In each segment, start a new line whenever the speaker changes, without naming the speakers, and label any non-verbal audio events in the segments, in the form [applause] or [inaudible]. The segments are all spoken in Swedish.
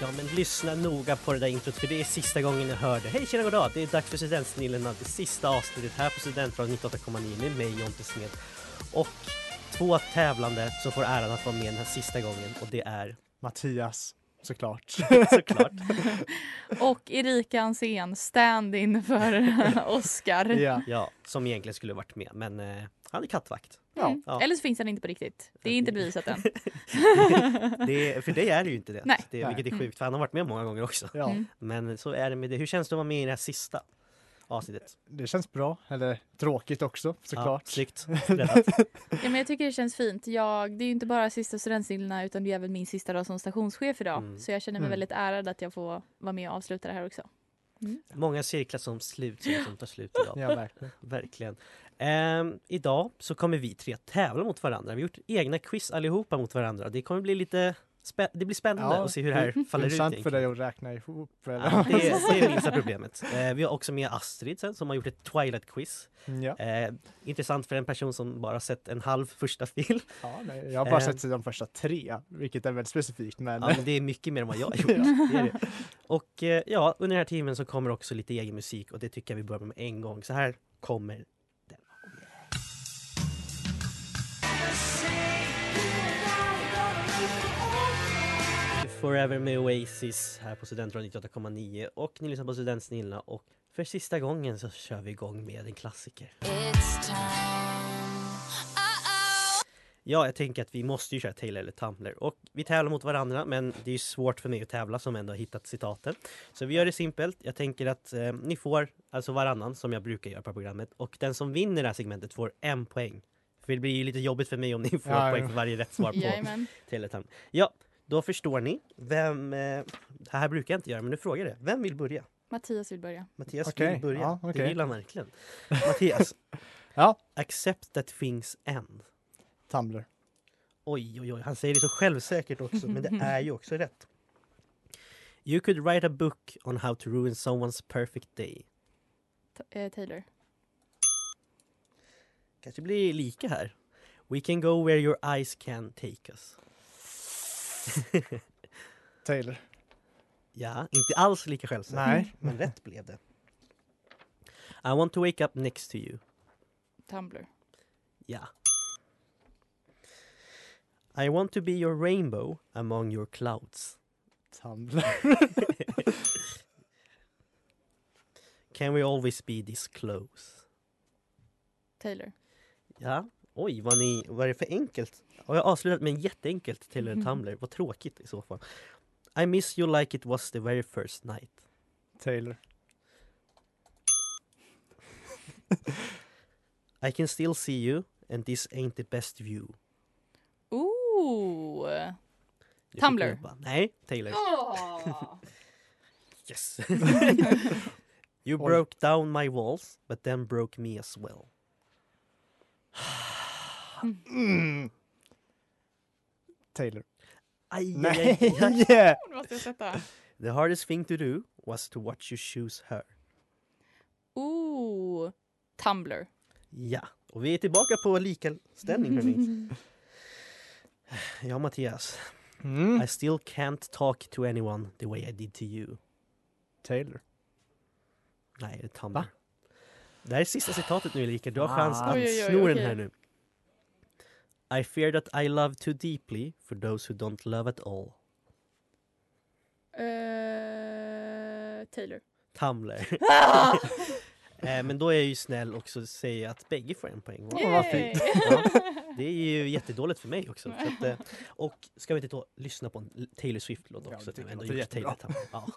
Ja men lyssna noga på det där introt för det är sista gången jag hör det. Hej tjena goddag! Det är dags för Studentsnillena, det sista avsnittet här på Studentradion 98,9 med mig Jonte Smed och två tävlande som får äran att vara med den här sista gången och det är
Mattias, såklart.
såklart
Och Erika Hansén, stand-in för Oscar.
ja.
ja, som egentligen skulle varit med men eh, han är kattvakt.
Ja.
Ja.
Eller så finns den inte på riktigt. Det är inte bevisat än.
Det är, för dig är det ju inte det.
Nej.
det vilket är sjukt för han har varit med många gånger också.
Mm. ja,
Mm.
Men så är det med det. Hur känns det att vara med i det här sista avsnittet?
det känns bra. Eller tråkigt också
Ja,
såklart.
snyggt räddat.
Ja, men jag tycker det känns fint. Jag, det är ju inte bara sista studentsnillena utan det är även min sista dag som stationschef idag.
Mm.
Så jag känner mig
Mm.
väldigt ärad att jag får vara med och avsluta det här också.
Många cirklar som slut som tar slut idag.
Ja, verkligen.
Verkligen. Ehm, idag så kommer vi tre tävla mot varandra. Vi har gjort egna quiz allihopa mot varandra. Det kommer bli lite spä- det blir spännande
Ja, Mm.
att se hur det här faller ut.
Intressant för
egentligen.
dig att räkna ihop. Eller?
Ja,
[laughs]
det, är, det är minsta problemet. Eh, vi har också med Astrid sen som har gjort ett Twilight-quiz.
Ja.
Eh, intressant för en person som bara sett en halv första film.
Ja, nej, jag har bara
Eh.
sett de första tre, vilket är väldigt specifikt. Men
Ja, men det är mycket mer än vad jag har gjort. Det är det. Och eh, ja, under den här timmen så kommer också lite egen musik och det tycker jag vi börjar med en gång. Så här kommer den. Forever med Oasis här på Studentradion 98,9 och ni lyssnar på Studentsnillena och för sista gången så kör vi igång med en klassiker. Ja, jag tänker att vi måste ju köra Taylor eller Tumbler och vi tävlar mot varandra men det är ju svårt för mig att tävla som ändå har hittat citaten. Så vi gör det simpelt. Jag tänker att eh, ni får alltså varannan som jag brukar göra på programmet och den som vinner det här segmentet får en poäng. För det blir ju lite jobbigt för mig om ni får
Ja,
poäng
ja.
för varje
[laughs]
rätt svar på
Jajamän.
Taylor eller Tumbler. Ja, då förstår ni vem... Eh, det här brukar jag inte göra men nu frågar jag det. Vem vill börja?
Mattias vill börja.
Mattias
Okej,
vill börja.
ja,
Det
okej.
vill han verkligen. Mattias,
[laughs] ja,
accept that things end.
[laughs] Tumblr.
Oj, oj, oj. Han säger det så självsäkert också, men det är ju också rätt. You could write a book on how to ruin someone's perfect day.
Ta- eh, Taylor.
Kanske blir lika här. We can go where your eyes can take us.
Taylor.
ja, inte alls lika självsäkert.
Nej.
Men rätt blev det. I want to wake up next to you.
Tumblr.
Ja. I want to be your rainbow among your clouds.
Tumblr.
Can we always be this close?
Taylor.
Ja, oj vad ni, vad är det för enkelt? Har jag avslutat med en jätteenkelt till
Mhm.
en Tumblr? Vad tråkigt i så fall. I miss you like it was the very first night.
Taylor.
I can still see you and this ain't the best view.
Ooh!
Det fick
Tumblr.
jag bara, Nej, Taylor.
Ah. [laughs]
Yes! you
Oj.
broke down my walls but then broke me as well.
Mm. Taylor.
Aj, aj, aj, aj.
Nej! [laughs] Yeah.
Nu måste jag sätta.
The hardest thing to do was to watch you choose her.
Ooh! Tumblr.
Ja, och vi är tillbaka på likaställning
[laughs]
hörni. Ja Mattias,
Mm.
I still can't talk to anyone the way I did to you.
Taylor.
Nej, det är Tumblr.
Va?
Det här är sista citatet nu Erika, du har chans
Ah.
att
Oj, oj, oj,
sno den
okej.
här nu. I fear that I love too deeply for those who don't love at all.
Eh, Taylor. [laughs]
Tumblr. [laughs] eh, men då är jag ju snäll också och säger att bägge får en poäng. va?
Åh, vad fint.
Yay!
Ja, det är ju jättedåligt för mig också. Så att, eh, och ska vi inte då lyssna på en Taylor Swift-låt
Ja,
också?
det tycker
när vi ändå
jag låter
gjort
jättebra.
Taylor Tumblr. ja.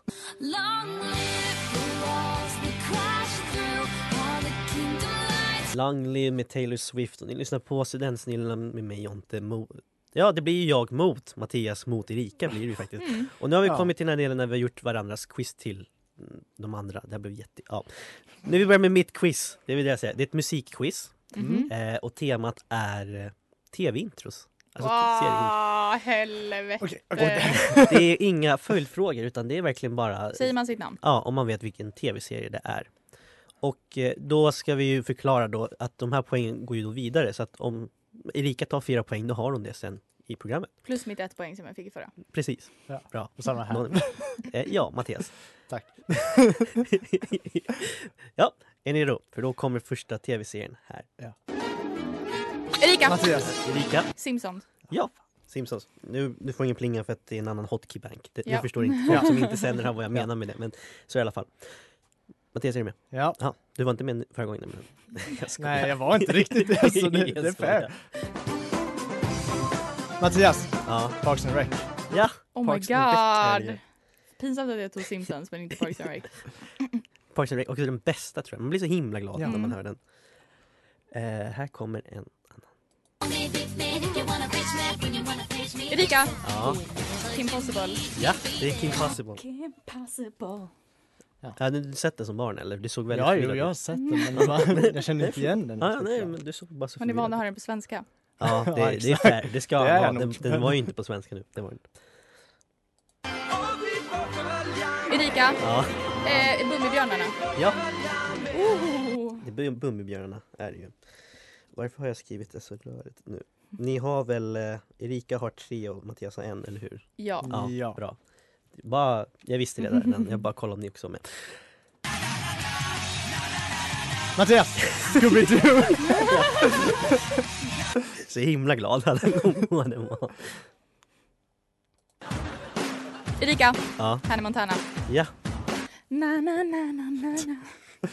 Long live the walls that crash through all the kingdom lights.
Langley med Taylor Swift och ni lyssnar på Studentsnillena med mig Jonte Mo- Ja, det blir ju jag mot Mattias mot Erika blir det ju faktiskt.
Mm.
Och nu har vi
Ja.
kommit till den här delen när vi har gjort varandras quiz till mm, de andra. Det här blev jätte... Ja. Nu vill vi börja med mitt quiz. Det vill jag säga. Det är ett musikquiz
Mhm.
eh, och temat är eh, tv-intros. [laughs] Alltså serieintros.
Wow, helvete.
Okej, okej.
Det är inga följdfrågor utan det är verkligen bara
Säger man sitt namn?
Ja, om man vet vilken tv-serie det är. Och eh, då ska vi ju förklara då att de här poängen går ju då vidare så att om Erika tar fyra poäng då har hon det sen i programmet.
Plus mitt ett poäng som jag fick i förra.
Precis.
Och Samma här.
Någon- Eh, ja, Mattias. [laughs]
Tack.
ja, är ni redo? För då kommer första tv-serien här.
Erika!
Mattias.
Erika,
Simpsons.
Simpsons. Nu, du får ingen plinga för att det är en annan hotkeybank. Det- Ni
Ja. [laughs]
förstår inte folk som inte sänder här vad jag menar med det. Men så i alla fall. Mattias, är du med?
Ja.
Ja, du var inte med förra gången. Men... Jag skojar.
Nej, jag var inte riktigt det. [laughs] Alltså, det, det
[laughs]
är
Jag skojar.
fair. Mattias.
Ja.
Parks and Rec.
ja,
Oh my
Parks and Rec är det ju.
god. Pinsamt att jag tog Simpsons men inte Parks and Rec.
Parks and Rec, också den bästa tror jag. Man blir så himla glad
Ja.
när
Mm.
man hör den. Eh, här kommer en.
Erika!
Ja,
Kim Possible.
ja det är Kim Possible. Hade du sett den som barn eller? Du såg väldigt
Ja, jo,
förvirrad
jag har
ut.
sett den, men
[laughs]
det var, jag känner inte igen den.
Ja, ja, nej, men du såg bara så
Man är van att
förvirrad
höra
ut.
den på svenska.
Ja,
Ja,
det, det är
exakt.
fair. Det ska
Det är
ja,
jag
den,
nog.
den var ju inte på svenska nu. Det var den inte.
Erika!
Ja,
Eh, Bummibjörnarna.
ja,
Oh.
det är Bumbibjörnarna är det ju. Varför har jag skrivit det så rörigt nu? Ni har väl, eh, Erika har tre och Mattias har en, eller hur?
Ja.
Ja,
Ja.
bra. Bara, jag visste det där, men jag bara kollade om ni också var med.
Mattias!
[laughs]
Scooby-Doo!
Så himla glad alla gånger den var.
Erika!
Ja,
Hannah Montana.
ja.
Na, na, na, na, na, na.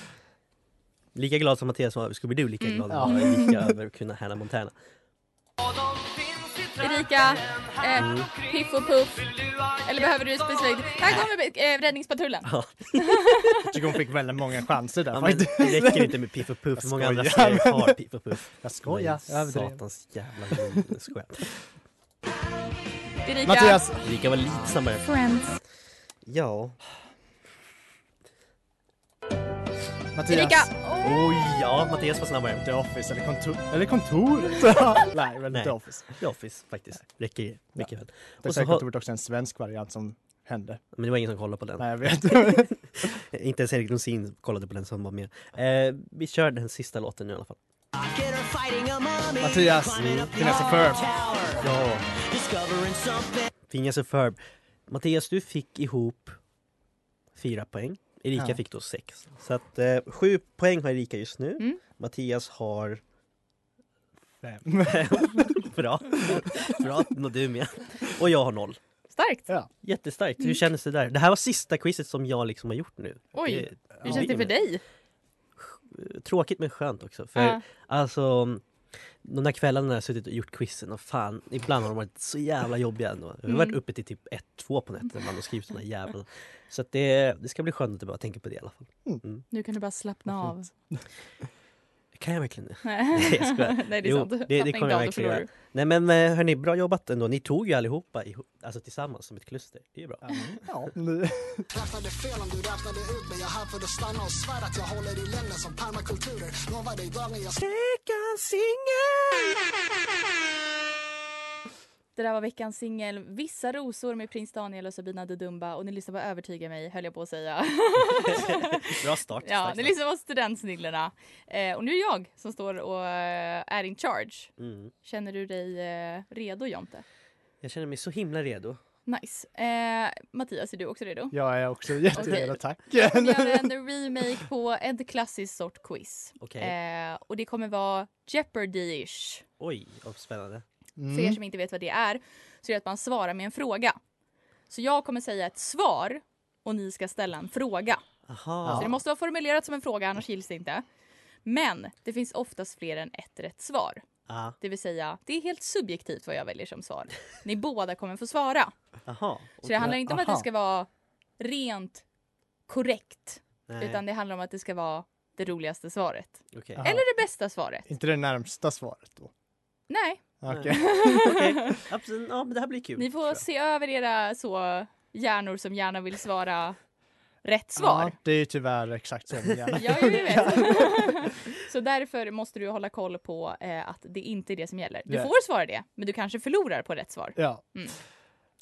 Lika glad som Mattias var skulle bli du lika
Mm.
glad var Erika över att kunna Hannah Montana.
Erika! Eh, Piff och Puff. Eller behöver du specifikt? Här kommer eh, Räddningspatrullen.
Jag tycker hon fick väldigt många chanser där
Ja, men
faktiskt.
det räcker inte med Piff och Puff, hur många andra
skojar,
serier
men-
har Piff och Puff?
Jag skojar, jag överdrev.
Satans jävla gud, jag skojar.
Erika!
Mattias!
Erika var lite snabbare.
Friends.
Ja.
Mattias!
Erika!
Oj, ja Mattias var snabbare.
The Office eller kontor... Eller kontoret! [laughs] Nej, väl
Nej.
The Office.
The Office faktiskt. Räcker ju mycket väl.
Det är
Och så
säkert
har,
kontoret också en svensk variant som hände.
men det var ingen som kollade på den. Eh,
Nej, jag vet.
Inte ens Erik Rosin kollade på den som var med. Eh, vi kör den sista låten nu i alla fall.
[laughs] Mattias! Finessa Firm.
[laughs]
Ja. Phineas och Ferb. Mattias, du fick ihop fyra poäng. Erika
Ja.
fick då sex. Så att eh, sju poäng har Erika just nu.
Mm.
Mattias har... [laughs]
Fem.
Bra. Bra att nå du med. Och jag har noll.
Starkt!
Ja.
Jättestarkt. Hur kändes det där? Det här var sista quizet som jag liksom har gjort nu.
Mm. Oj,
Det-
hur känns det för dig?
Tråkigt men skönt också. För
Ja.
Alltså, de där kvällarna när jag suttit och gjort quizen, och fan, ibland har de varit så jävla jobbiga ändå. Jag har varit
Mm.
uppe till typ 1-2 på nätterna ibland och skrivit de där jävlarna. Så att det, det ska bli skönt att du bara tänker på det i alla fall.
Nu kan du bara slappna
Vad
av.
Kan jag verkligen det? [laughs]
Nej,
jag skojar.
Nej, det är
Jo,
sant.
det- det
Slappna in
kommer
down,
jag
då
verkligen
förlorar
göra. Nej men eh, hörni, bra jobbat ändå. Ni tog ju allihopa ihop, alltså tillsammans som ett kluster. Det är ju bra.
Ja.
Räknade fel om du räknade ut mig Jag är här för att stanna och svär att jag håller i längden som permakulturer Lovar dig dagen jag
[laughs] Det där var veckans singel Vissa rosor med prins Daniel och Sabina Dudumba och ni lyssnar på Övertyga mig höll jag på att säga. [laughs]
bra start.
ja,
Stark
ni
start.
lyssnar på Studentsnillena. Eh, och nu är jag som står och eh, är in charge.
Mm.
Känner du dig eh, redo Jonte?
Jag känner mig så himla redo.
Nice. Eh, Mattias, är du också
[laughs]
redo?
Jag är också jätteredo,
Okej.
tack.
Vi gör en remake på ett klassiskt sort quiz.
Okej.
Eh, och det kommer vara Jeopardy-ish.
Oj, vad spännande.
Mm.
För er som inte vet vad det är, så är det att man svarar med en fråga. Så jag kommer säga ett svar och ni ska ställa en fråga.
Aha.
Så det måste vara formulerat som en fråga, annars gills det inte. Men det finns oftast fler än ett rätt svar.
Ja.
Det vill säga, det är helt subjektivt vad jag väljer som svar. Ni
[laughs]
båda kommer få svara.
Ah, Aha.
Så det handlar inte om att det
Aha.
ska vara rent korrekt,
Nej.
utan det handlar om att det ska vara det roligaste svaret.
Okej.
Aha.
Eller det bästa svaret.
Inte det närmsta svaret då?
Nej,
Okej.
Okej.
[laughs]
Absolut. Ja, men det här blir kul.
ni
tror
får
jag.
se över era så hjärnor som gärna vill svara
[laughs]
rätt svar.
Ja, det är ju tyvärr exakt så
[laughs]
min hjärna
Ja, jo,
[laughs]
vi vet. så därför måste du hålla koll på eh, att det inte är det som gäller. Du
Nej.
får svara det, men du kanske förlorar på rätt svar.
Ja,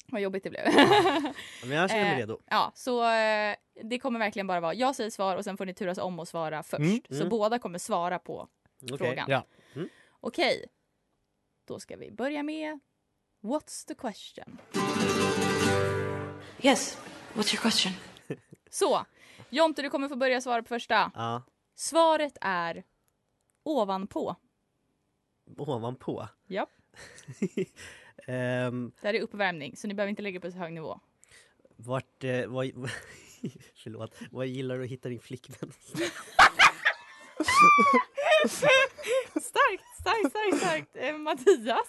Vad jobbigt det blev.
[laughs] Men jag känner mig
Eh,
redo.
ja, så eh, det kommer verkligen bara vara jag säger svar och sen får ni turas om och svara först.
Mm.
Så
Mm.
båda kommer svara på
Okej.
frågan.
Ja.
Mm.
Okej, då ska vi börja med What's the question?
Yes. What's your question?
[laughs] Så, Jonte du kommer få börja svara på första.
Ja,
Svaret är ovanpå.
ovanpå.
Ja.
[laughs] Ehm,
Det här är uppvärmning så ni behöver inte lägga på så hög nivå.
vart, eh, vad, [laughs] förlåt, vad gillar du att hitta din flickvän?
Starkt, starkt, starkt, starkt. Eh, Mattias.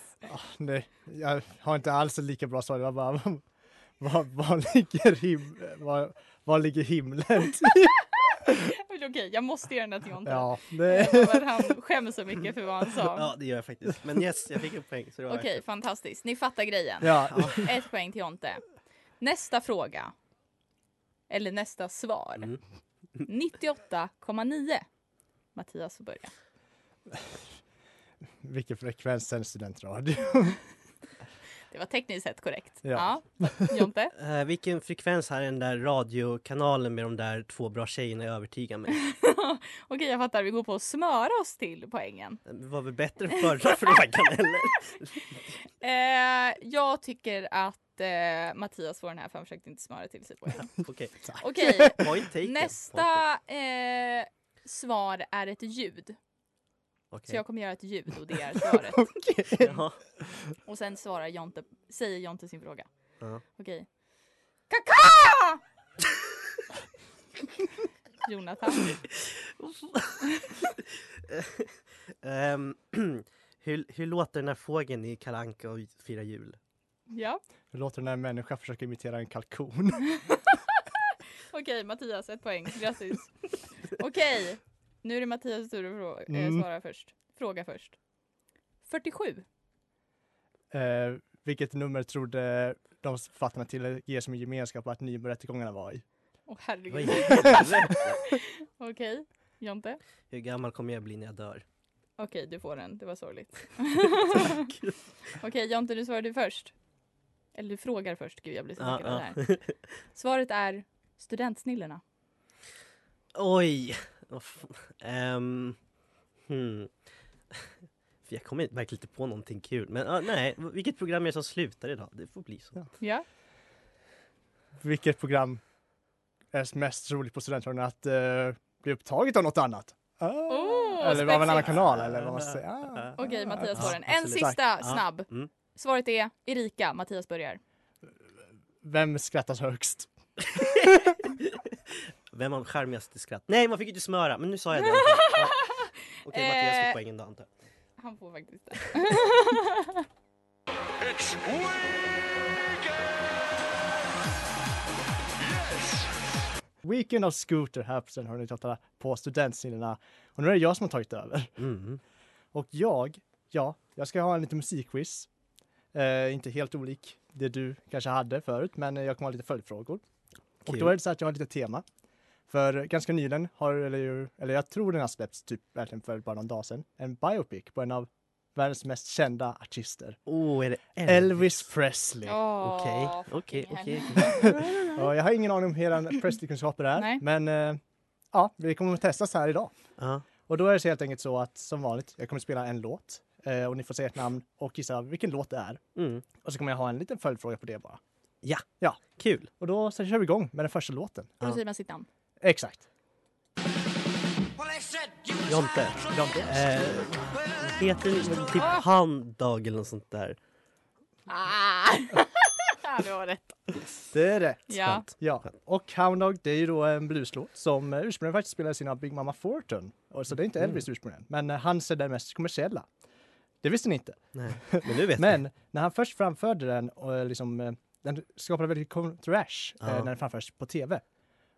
nej, jag har inte alls ett lika bra svar. Jag bara, [laughs] var, var, ligger him, var, var ligger himlen?
[laughs] Men Okej, jag måste göra den här till Jonte.
Ja,
Jag
det,
lovar, Han skäms så mycket för vad han sa.
Ja, det gör jag faktiskt. Men yes, jag fick en poäng. Så det var
Okej,
värt det.
fantastiskt. Ni fattar grejen.
ja.
Ett poäng till Jonte. Nästa fråga. Eller nästa svar. 98,9. Mattias får börja.
Vilken frekvens sänder studentradio?
Det var tekniskt sett korrekt.
Ja.
Ja. Jonte?
Eh, vilken frekvens har den där radiokanalen med de där två bra tjejerna övertygar mig?
Okej, jag fattar. Vi går på att smöra oss till poängen.
Det var väl bättre än
[laughs]
förra frågan eller?
Eh, jag tycker att eh, Mattias får den här för han försökte inte smöra till sig poängen.
Okej,
Okej,
point taken. Point
nästa eh, svar är ett ljud.
taken.
Så jag kommer göra ett ljud och det är svaret.
Okej. Ja.
Och sen svarar Jonte, säger Jonte sin fråga.
Ja.
Okej. Kaka! [laughs] Jonathan.
Ehm, [clears throat] hur, hur låter den här fågeln i Kalle Anka och firar jul?
Ja.
Hur låter när en människa försöker imitera en kalkon? [laughs]
Okej Mattias, ett poäng. Grattis. Okej, nu är det Mattias tur att frå- eh,
Mm.
svara först. Fråga först. 47.
Eh, vilket nummer trodde de författarna till er som i gemenskap att Nybro-rättegångarna var i?
Åh
Vad i
herregud.
helvete?
Okej, Jonte.
[laughs] Hur gammal kommer jag bli när jag dör?
Okej, du får den. Det var
[laughs]
sorgligt. Okej, Jonte, du svarar du först. Eller du frågar först. Gud, jag blir så
Ja,
taggad av det
ja.
här. Svaret är studentsnillena.
Oj! Vad fan. Ehm, hmm. [laughs] För jag kommer verkligen inte på någonting kul. Men ah, nej, vilket program är det som slutar idag? Det får bli så.
Ja.
Ja.
Vilket program är mest roligt på studentradion att eh, bli upptaget av något annat? Ah.
Oh,
eller av en annan
spexigt.
kanal eller vad man ska säga. Ah.
Okej, Mattias får den.
absolut.
En sista
Ja.
snabb.
Mm.
Svaret är Erika. Mattias börjar.
Vem skrattar högst?
Vem har charmigast skratt? Nej, man fick ju inte smöra! Men nu sa jag det. i alla fall. Ja. Okej, Mattias
Eh.
fick poängen då antar jag.
Han får faktiskt det.
Weekend of Scooter här på Studentradion 98 på Studentsidorna. Och nu är det jag som har tagit över.
Mm.
Och jag, ja, jag ska ha en liten musikquiz. Eh, inte helt olik det du kanske hade förut, men eh, jag kommer ha lite följdfrågor. Och
Kul.
då är det så att jag har lite tema. För ganska nyligen har, eller, ju- eller jag tror den har släppts typ verkligen för bara någon dag sedan, en biopic på en av världens mest kända artister.
Åh, Oh, är det
Elvis Presley.
Åh,
Okej,
fucking
okej,
hell.
okej.
Och jag har ingen aning om hur era Presley-kunskaper är,
Nej.
men eh, ja, vi kommer att testas här idag.
Ja.
Och då är det så helt enkelt så att som vanligt, jag kommer spela en låt eh, och ni får säga ett namn och gissa vilken låt det är.
Mm.
Och så kommer jag ha en liten följdfråga på det bara.
ja,
Ja,
kul!
och då så kör vi igång med den första låten.
Och Då säger man sitt namn.
Exakt.
Jonte. Jonte. Eh, heter den typ Handdag eller något sånt där?
Ah! [laughs] Ja, det var rätt.
Det är rätt.
Ja.
Ja, och Hound Dog det är ju då en blueslåt som eh, ursprungligen faktiskt spelades in av Big Mama Thornton. Och Så det är
Mm.
inte Elvis ursprungligen, men eh, hans är den mest kommersiella. Det visste ni inte.
Nej, men nu vet jag.
Men när han först framförde den, och eh, liksom, eh, den skapade väldigt kontrovers eh,
Ja.
när den framfördes på tv.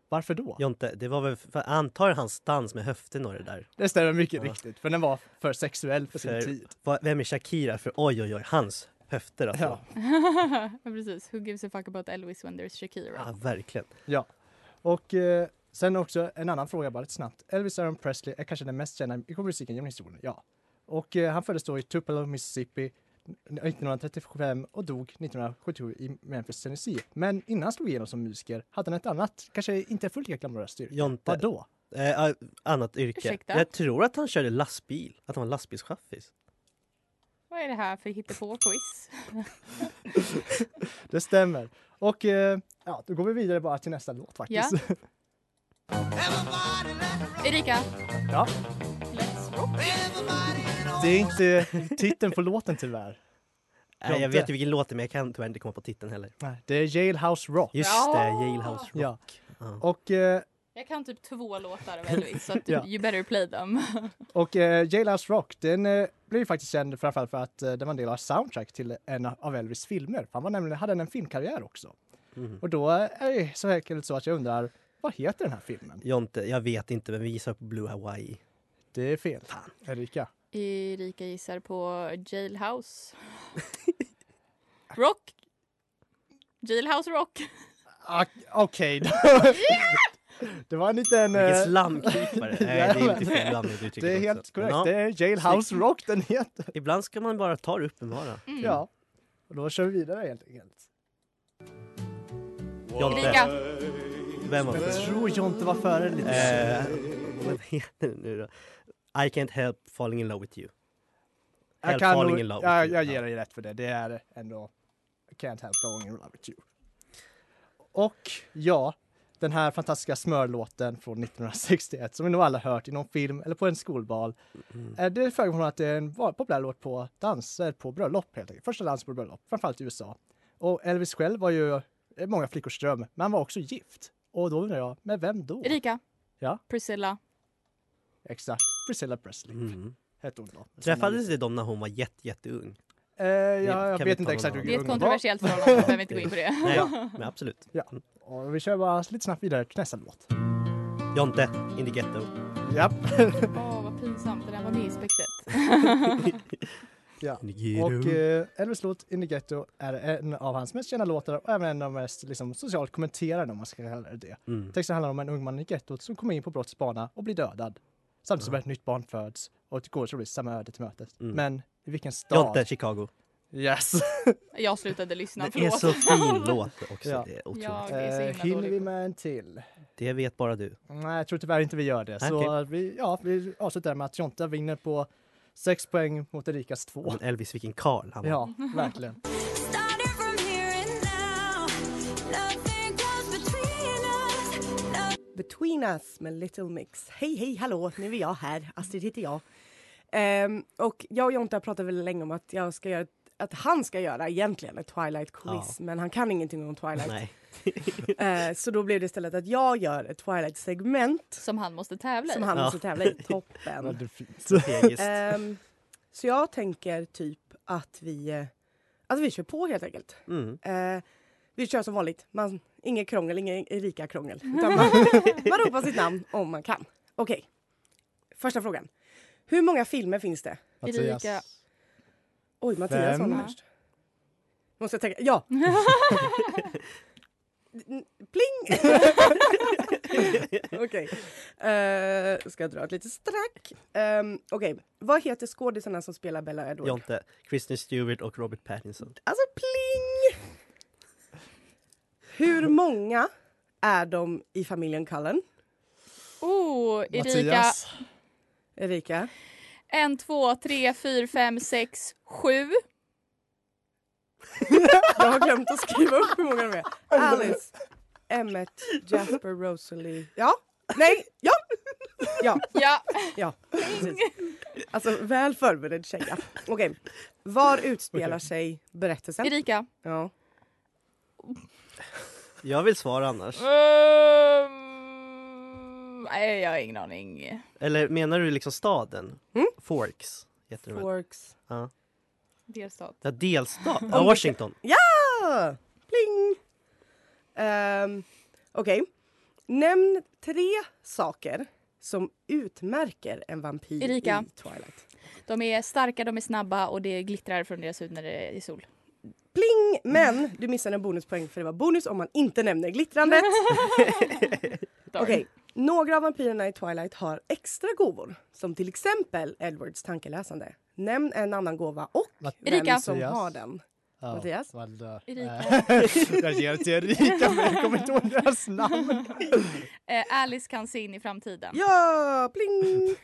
Varför då?
Jonte, det var väl för, antar hans dans med höften och det där.
Det stämmer mycket
Ja.
riktigt, för den var för sexuell för sin
För-
tid.
Va- Vem är Shakira för oj oj oj, hans höfter alltså.
Ja.
Ja,
Ja, [laughs] Precis. Who gives a fuck about Elvis when there's Shakira?
verkligen.
Och eh, sen också en annan fråga bara lite snabbt. Elvis Aaron Presley är kanske den mest kända musiken genom historien, ja. Och eh, han föddes då i Tupelo, Mississippi 1935 och dog 1977 i Memphis, Tennessee. Men innan han slog igenom som musiker hade han ett annat, kanske inte fullt lika glamoröst yrke.
Jonte,
Vadå?
eh, a- annat yrke.
Ursäkta?
Jag tror att han körde lastbil, att han var lastbilschaffis.
Vad är det här för
[laughs]
hittepå-quiz?
Det stämmer. Och eh, ja, då går vi vidare bara till nästa låt faktiskt.
Erika,
[laughs] ja.
let's rock!
Det är inte titeln på låten tyvärr.
Nej, jag
Jonte.
vet ju vilken låt det är men jag kan tyvärr inte komma på titeln heller.
Nej, Det är Jailhouse Rock.
Just
Ja.
det, Jailhouse Rock.
Ja.
Ja.
Och, eh,
Jag kan typ två låtar av Elvis, så att
Ja.
you better play them.
och eh, Jailhouse Rock, den eh, blev ju faktiskt känd framförallt för att eh, den var en del av soundtrack till en av Elvis filmer. Han var nämligen, hade en filmkarriär också.
Mm.
Och då eh, är det så enkelt så att jag undrar, vad heter den här filmen?
Jonte, jag vet inte men vi gissar på Blue Hawaii.
Det är fel. Erika.
Erika gissar på Jailhouse. rock! Jailhouse Rock!
Ah, Okej. [laughs] då. det var en liten... eh,
Vilken slamkrypare!
[laughs]
Nej, det är inte så lammigt uttryck
det är
också.
helt
Men
korrekt.
ja,
Det är Jailhouse
Snyggt.
Rock den heter.
Ibland ska man bara ta det uppenbara.
Mm. Ja. Och då kör vi vidare helt enkelt.
Jonte,
Erika!
vem var
Jag
det?
tror Jonte var före lite.
Eh, vad heter den nu då? I can't help falling in love with you.
jag
Help
kan
falling
nog,
in love
jag,
with you.
jag ger dig rätt för det. Det är ändå I Can't help falling in love with you. Och ja, den här fantastiska smörlåten från 1961 som vi nog alla hört i någon film eller på en skolbal. Mm. Det följer från att det är en va- populär låt på danser på bröllop helt enkelt. Första dansen på bröllop, framförallt i USA. Och Elvis själv var ju eh, många flickors dröm, men han var också gift. Och då undrar jag, med vem då?
Erika!
Ja?
Priscilla.
Exakt, Priscilla Presley
Mm.
hette hon då.
Träffades de dem när hon var jätte, jätteung?
Eh, jag
Kan vi
vet
ta
inte
någon
exakt hur
annan?
Det är ett
ung hon var.
kontroversiellt förhållande, vi behöver inte gå in på
[laughs]
det.
Nej, ja, men absolut.
Ja. Och vi kör bara lite snabbt vidare till nästa låt.
Jonte, in the ghetto.
Japp.
Åh, vad pinsamt. Det där var med i spexet.
ja.
In the ghetto.
Och eh, Elvis låt In the Ghetto är en av hans mest kända låtar och även en av de mest liksom, socialt kommenterade om man ska kalla det det.
mm.
Texten handlar om en ung man i gettot som kommer in på brottets bana och blir dödad. Samtidigt som ett nytt barn föds och det går troligtvis samma öde till mötet.
Mm.
Men i vilken stad?
Jonte, Chicago.
Yes!
Jag slutade lyssna,
Det är
förlåt.
så fin låt också.
Ja.
Det är otroligt.
Ja. det är så himla
Eh, hinner
dålig
vi
på.
med en till?
Det vet bara du.
Nej, jag tror tyvärr inte vi gör det. Så
Okej.
vi, ja, vi avslutar med att Jonte vinner på sex poäng mot Erikas två.
Men Elvis, vilken karl han var.
Ja, verkligen.
Started from here and now. Nothing comes between us.
Between Us med Little Mix. Hej, hej, hallå, nu är jag här. Astrid heter jag. Ehm, och jag och Jonte har pratat väldigt länge om att, jag ska göra, ett- att han ska göra egentligen ett Twilight-quiz, men han kan ingenting om Twilight. [laughs]
Nej.
Eh, så då blev det istället att jag gör ett Twilight-segment
Som han måste tävla i.
som han
Ja.
måste tävla i.
Ja,
Toppen!
det är fint.
Fegiskt.
Ehm, så jag tänker typ att vi, eh, att vi kör på helt enkelt.
Mm.
Eh, vi kör som vanligt. Man, inget krångel, inget Erika-krångel. Utan Man, man ropar sitt namn om man kan. Okej. Första frågan. Hur många filmer finns det?
[laughs]
Mattias.
Erika.
Oj, Mattias
Fem.
var först. Måste jag tänka? Ja! N- Pling! [laughs] Okej. Eh, ska jag dra ett litet strack? Um, Okej. Vad heter skådisarna som spelar Bella Edward?
Jonte, Kristen Stewart och Robert Pattinson.
Alltså pling! Hur många är de i familjen Cullen?
Oh, Erika.
Mattias.
Erika?
En, två, tre, fyra, fem, sex, sju.
Jag har glömt att skriva upp hur många de är. Alice, Emmet, Jasper, Rosalie. Ja? Nej? Ja! Ja,
Ja.
ja. Precis. Alltså väl förberedd tjeja. Okej. Var utspelar sig berättelsen?
Erika.
Ja.
Jag vill svara annars.
Ehm, nej, jag har ingen aning.
Eller menar du liksom staden?
Mm.
Forks heter den väl?
Forks.
Delstat.
Ja, delstat. Ja, Washington.
Ah, Pling! Ehm, Okej. Nämn tre saker som utmärker en vampyr
Erika.
i Twilight.
De är starka, de är snabba och det glittrar från deras hud när det är sol.
Pling! Men du missar en bonuspoäng för det var bonus om man inte nämner glittrandet.
Darn.
Okej, några av vampyrerna i Twilight har extra gåvor. Som till exempel Edwards tankeläsande. Nämn en annan gåva och
Vad-
vem
Erika.
som
Mattias.
har den.
Ja,
Mattias?
vad, eh,
Erika.
[laughs] jag ger det till Erika men jag kommer inte ihåg deras namn.
Eh, Alice kan se in i framtiden.
Ja, [laughs] pling!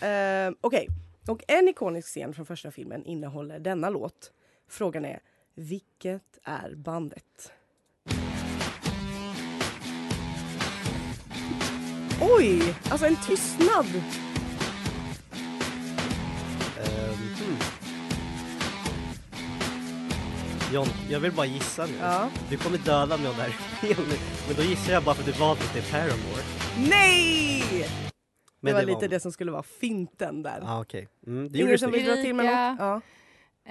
Ehm, Okej, och en ikonisk scen från första filmen innehåller denna låt. Frågan är, vilket är bandet? Oj, alltså en tystnad!
Ehm, John, jag vill bara gissa nu.
Ja.
Du kommer döda mig om det här är fel nu. Men då gissar jag bara för att du valt att det är Paramore.
Nej!
Men
det var lite det som skulle vara finten där.
Ja, ah, okej. Mm, det gjorde
Ingen
du
som
snyggt.
vill dra till med något?
Erika.
Ja. [laughs]
Eh, [laughs]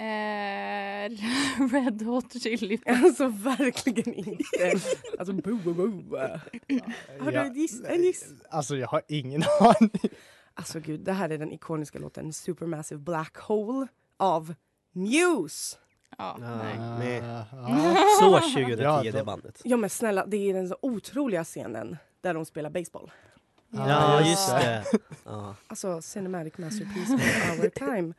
Red Hot Chili
Alltså verkligen inte. Alltså bo, bo, bo. Har du
Ja.
en giss? En giss?
Alltså jag har ingen aning.
Alltså gud, det här är den ikoniska låten Supermassive Black Hole av Muse.
Ja, nej.
Ah, nej.
Ja.
Så 2010
Ja,
det
då-
bandet.
Ja men snälla, det är den så otroliga scenen där de spelar baseball.
Ja,
Ja,
just
just det.
[laughs]
Ja.
Alltså cinematic masterpiece of our time.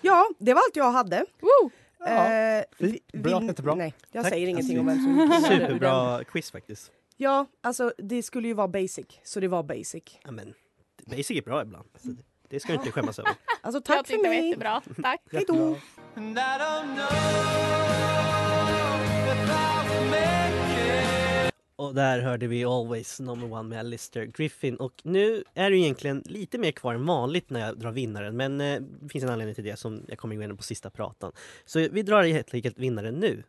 Ja, det var allt jag hade.
Woo!
Ja.
Eh,
Fint. Bra,
vill-
jättebra.
Nej, jag
Tack.
säger ingenting
Astrid.
om vem som vinnade ur den.
Superbra quiz faktiskt.
Ja, alltså det skulle ju vara basic, så det var basic.
Ja, men, basic är bra ibland. Så det- det ska du inte skämmas över.
Alltså tack
Jag
för
tyckte det var
mig.
jättebra. Tack.
Hej då.
Och där hörde vi Always number one med Alistair Griffin och nu är det ju egentligen lite mer kvar än vanligt när jag drar vinnaren men eh, det finns en anledning till det som jag kommer gå igenom på sista pratan. Så vi drar helt enkelt vinnaren nu.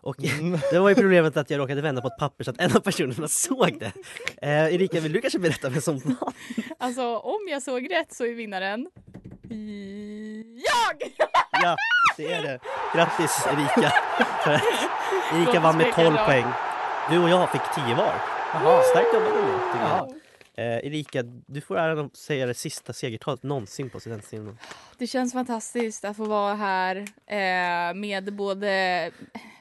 Och [laughs] det var ju problemet att jag råkade vända på ett papper så att en av personerna [laughs] såg det. Eh, Erika, vill du kanske berätta vem som vann?
Alltså om jag såg rätt så är vinnaren jag!
Ja, det är det. Grattis Erika! För att Erika
Låt
vann med
oss leka
12
idag.
poäng. Du och jag fick 10 var. Starkt jobbat ändå, tycker jag. Eh, Erika, du får äran att säga det sista segertalet någonsin på studentscenen.
Det känns fantastiskt att få vara här eh, med både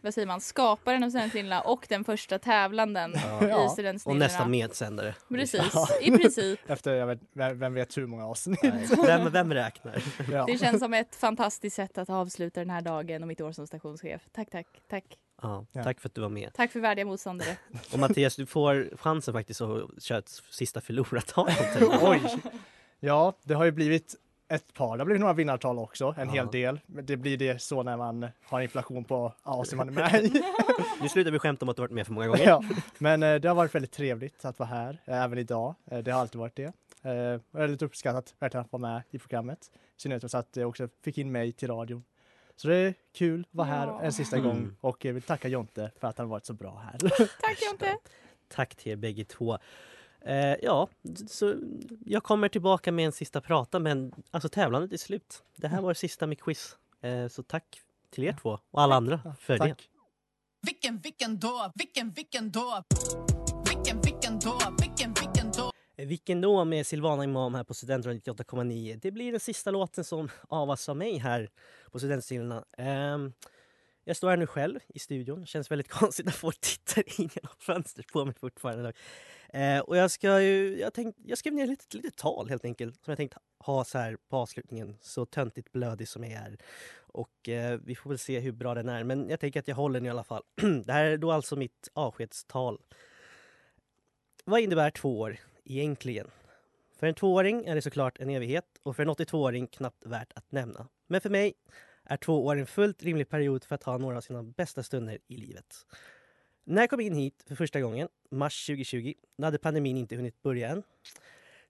vad säger man, skaparen av Studentsnillena och den första tävlanden i
Ja.
Och
Studentsnillena.
nästa medsändare.
Precis, i princip.
Efter jag vet, vem, vem vet hur många avsnitt.
[laughs] Nej, Vem, vem räknar?
[laughs] Ja.
Det känns som ett fantastiskt sätt att avsluta den här dagen och mitt år som stationschef. Tack, tack, tack.
Ja,
Ja.
tack för att du var med.
Tack för värdiga motståndare.
Och Mattias, du får chansen faktiskt att köra ett sista
[laughs]
förlorat-tal.
Oj! Ja, det har ju blivit ett par. Det har blivit några vinnartal också, en
Ja.
hel del. Men det blir det så när man har inflation på ja, som man är med i.
Nu slutar vi skämta om att du varit med för många gånger.
ja. Men eh, det har varit väldigt trevligt att vara här, eh, även idag. Eh, det har alltid varit det. Eh, och jag är lite uppskattat verkligen att vara med i programmet. I synnerhet så att jag också fick in mig till radion. Så det är kul att vara här
Ja.
en sista
Mm.
gång och jag vill tacka Jonte för att han varit så bra här.
Tack Jonte!
Tack till er bägge två. Eh, ja, så jag kommer tillbaka med en sista prata men alltså tävlandet är slut. Det
Mm.
här var det sista med quiz. Eh, så tack till er två och alla andra för det.
Tack!
Vilken, vilken dag, vilken, vilken dag. Vilken, vilken dag, vilken, vilken dag.
Eh, Vilken då med Silvana Imam här på Studentradion 98,9. Det blir den sista låten som avas av mig här på Studentstilarna. Ehm, jag står här nu själv i studion. Känns väldigt [laughs] konstigt att folk tittar in genom fönstret på mig fortfarande. Eh, och jag, ska ju, jag, tänkt, jag skrev ner ett litet, litet tal helt enkelt som jag tänkt ha så här på avslutningen. Så töntigt blödig som jag är. Och eh, vi får väl se hur bra den är. Men jag tänker att jag håller den i alla fall. [clears throat] Det här är då alltså mitt avskedstal. Vad innebär två år? egentligen? För en tvååring är det såklart en evighet och för en 82-åring knappt värt att nämna. Men för mig är två år en fullt rimlig period för att ha några av sina bästa stunder i livet. När jag kom in hit för första gången, mars 2020, då hade pandemin inte hunnit börja än.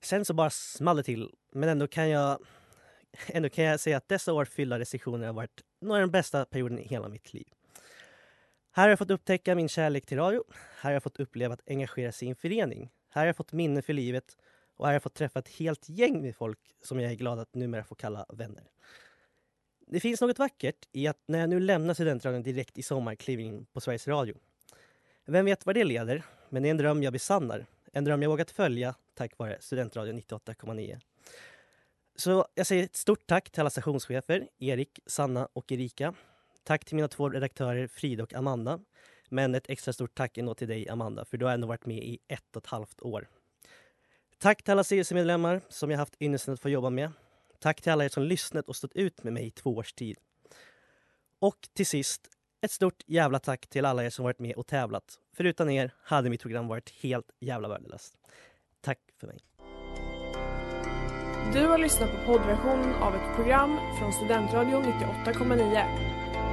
Sen så bara small det till, men ändå kan jag, ändå kan jag säga att dessa år fyllda restriktioner har varit några av de bästa perioderna i hela mitt liv. Här har jag fått upptäcka min kärlek till radio, här har jag fått uppleva att engagera sig i en förening. Här har jag fått minnen för livet och här har jag fått träffa ett helt gäng med folk som jag är glad att numera få kalla vänner. Det finns något vackert i att när jag nu lämnar studentradion direkt i sommar kliver in på Sveriges Radio. Vem vet var det leder? men det är en dröm jag besannar. En dröm jag vågat följa tack vare Studentradion 98,9. Så jag säger ett stort tack till alla stationschefer, Erik, Sanna och Erika. Tack till mina två redaktörer Frida och Amanda. Men ett extra stort tack ändå till dig, Amanda, för du har ändå varit med i ett och ett halvt år. Tack till alla styrelsemedlemmar som jag haft ynnesten att få jobba med. Tack till alla er som lyssnat och stått ut med mig i två års tid. Och till sist, ett stort jävla tack till alla er som varit med och tävlat. För utan er hade mitt program varit helt jävla värdelöst. Tack för mig.
Du har lyssnat på poddversionen av ett program från Studentradion 98,9.